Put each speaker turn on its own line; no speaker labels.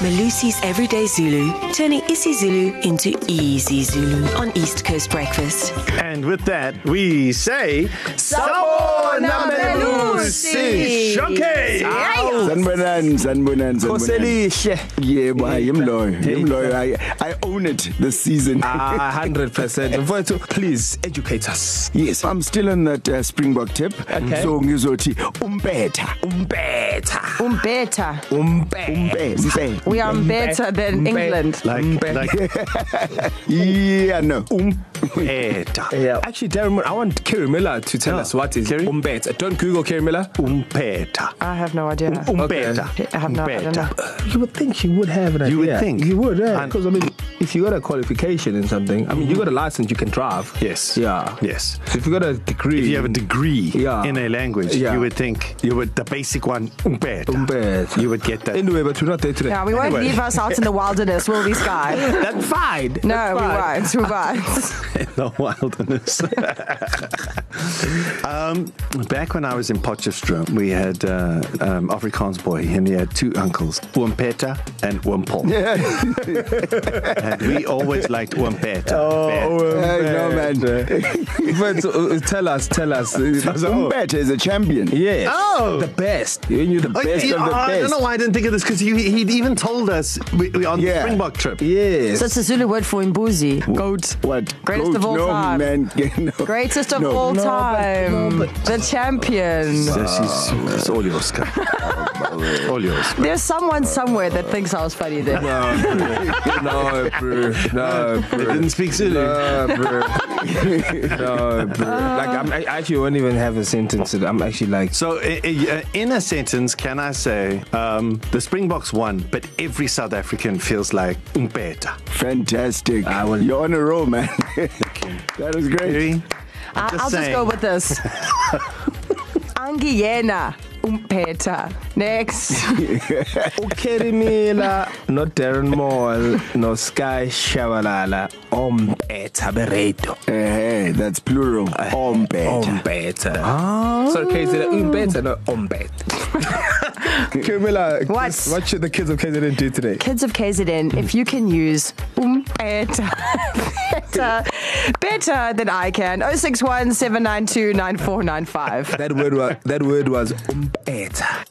Malusi's Everyday Zulu, turning isiZulu into easy Zulu on East Coast Breakfast.
And with that, we say Sabona Melusi Showcase.
sanibonani sanibonani sanibonani yebo hayi yimloyo yimloyo I, i own it this season
Ah, 100%. Mfowethu, please educate us.
yes i'm still on that uh, springbok tip
Okay.
so ngizothi umpetha
Umbetha.
Um, better.
Umbetha.
Mpe- mpe.
We are better than
Umbe-
England.
Like, like
yeah no
umpeta.
Yeah. Actually, Darren, Moore, I want Kerry Miller to tell
Yeah.
yeah. us what is
Kerry?
umbet. Don't Google Kerry Miller.
Umpeta.
I have no idea.
Umpeta.
I have no I don't know.
You would think he would have an
You would think.
You would, yeah.
And-
Because, I mean, if you got a qualification in something, I mean, you got a license, you can drive.
Yes.
Yeah.
Yes.
So if you got a degree.
If you have a degree
Yeah.
in a language,
Yeah.
you would think you would the basic one umpeta.
umbet.
You would get that.
Anyway, but we're not there today.
Yeah, we won't
Anyway.
leave us out in the wilderness, will we, Sky?
That's fine.
No, we won't. We won't.
the wilderness. um, back when I was in Potchefstroom, we had uh, um, Afrikaans boy, and he had two uncles, Umpeta and Umpol. and we always liked Umpeta.
Oh,
Uh, no man
but uh, tell us, tell us. Oh.
umpetha is a champion
Yes.
Oh.
The best. You knew the
Oh,
best
yeah,
of the
I
best.
don't know why I didn't think of this because he, he'd even told us we, we, on the
Yeah.
Springbok trip.
Yes.
So it's a Zulu word for imbuzi. Goat.
what
Greatest of all
no,
time.
man no.
Greatest of
no.
all
no.
time. the champion.
This is it's all yours, Kai. all yours.
There's someone somewhere that thinks I was funny there.
no, bro. No, bro.
They didn't speak Zulu.
No, bro. no, bro. Like, I'm, I actually won't even have a sentence. I'm actually like,
So, i- i- uh, in a sentence, can I say um, the Springboks won, but every South African feels like umpeta.
fantastic
I will-
you're on a roll man that was great
Very-
I,
just
I'll just
saying.
go with this. Angiyena umpeta. Um, Next.
Ukeri Miller, not Darren Moore, no Sky Shabalala, Ombeta Bereto.
hey that's plural umpetha
Ombeta. Oh. Eh, Sorry, KZ, Umbeta, not Ombet. Kermila,
What?
just what should the kids of KZN do today?
Kids of KZN, if you can use umpeta better, better than I can. 061 792 9495.
That word was that word was umpeta.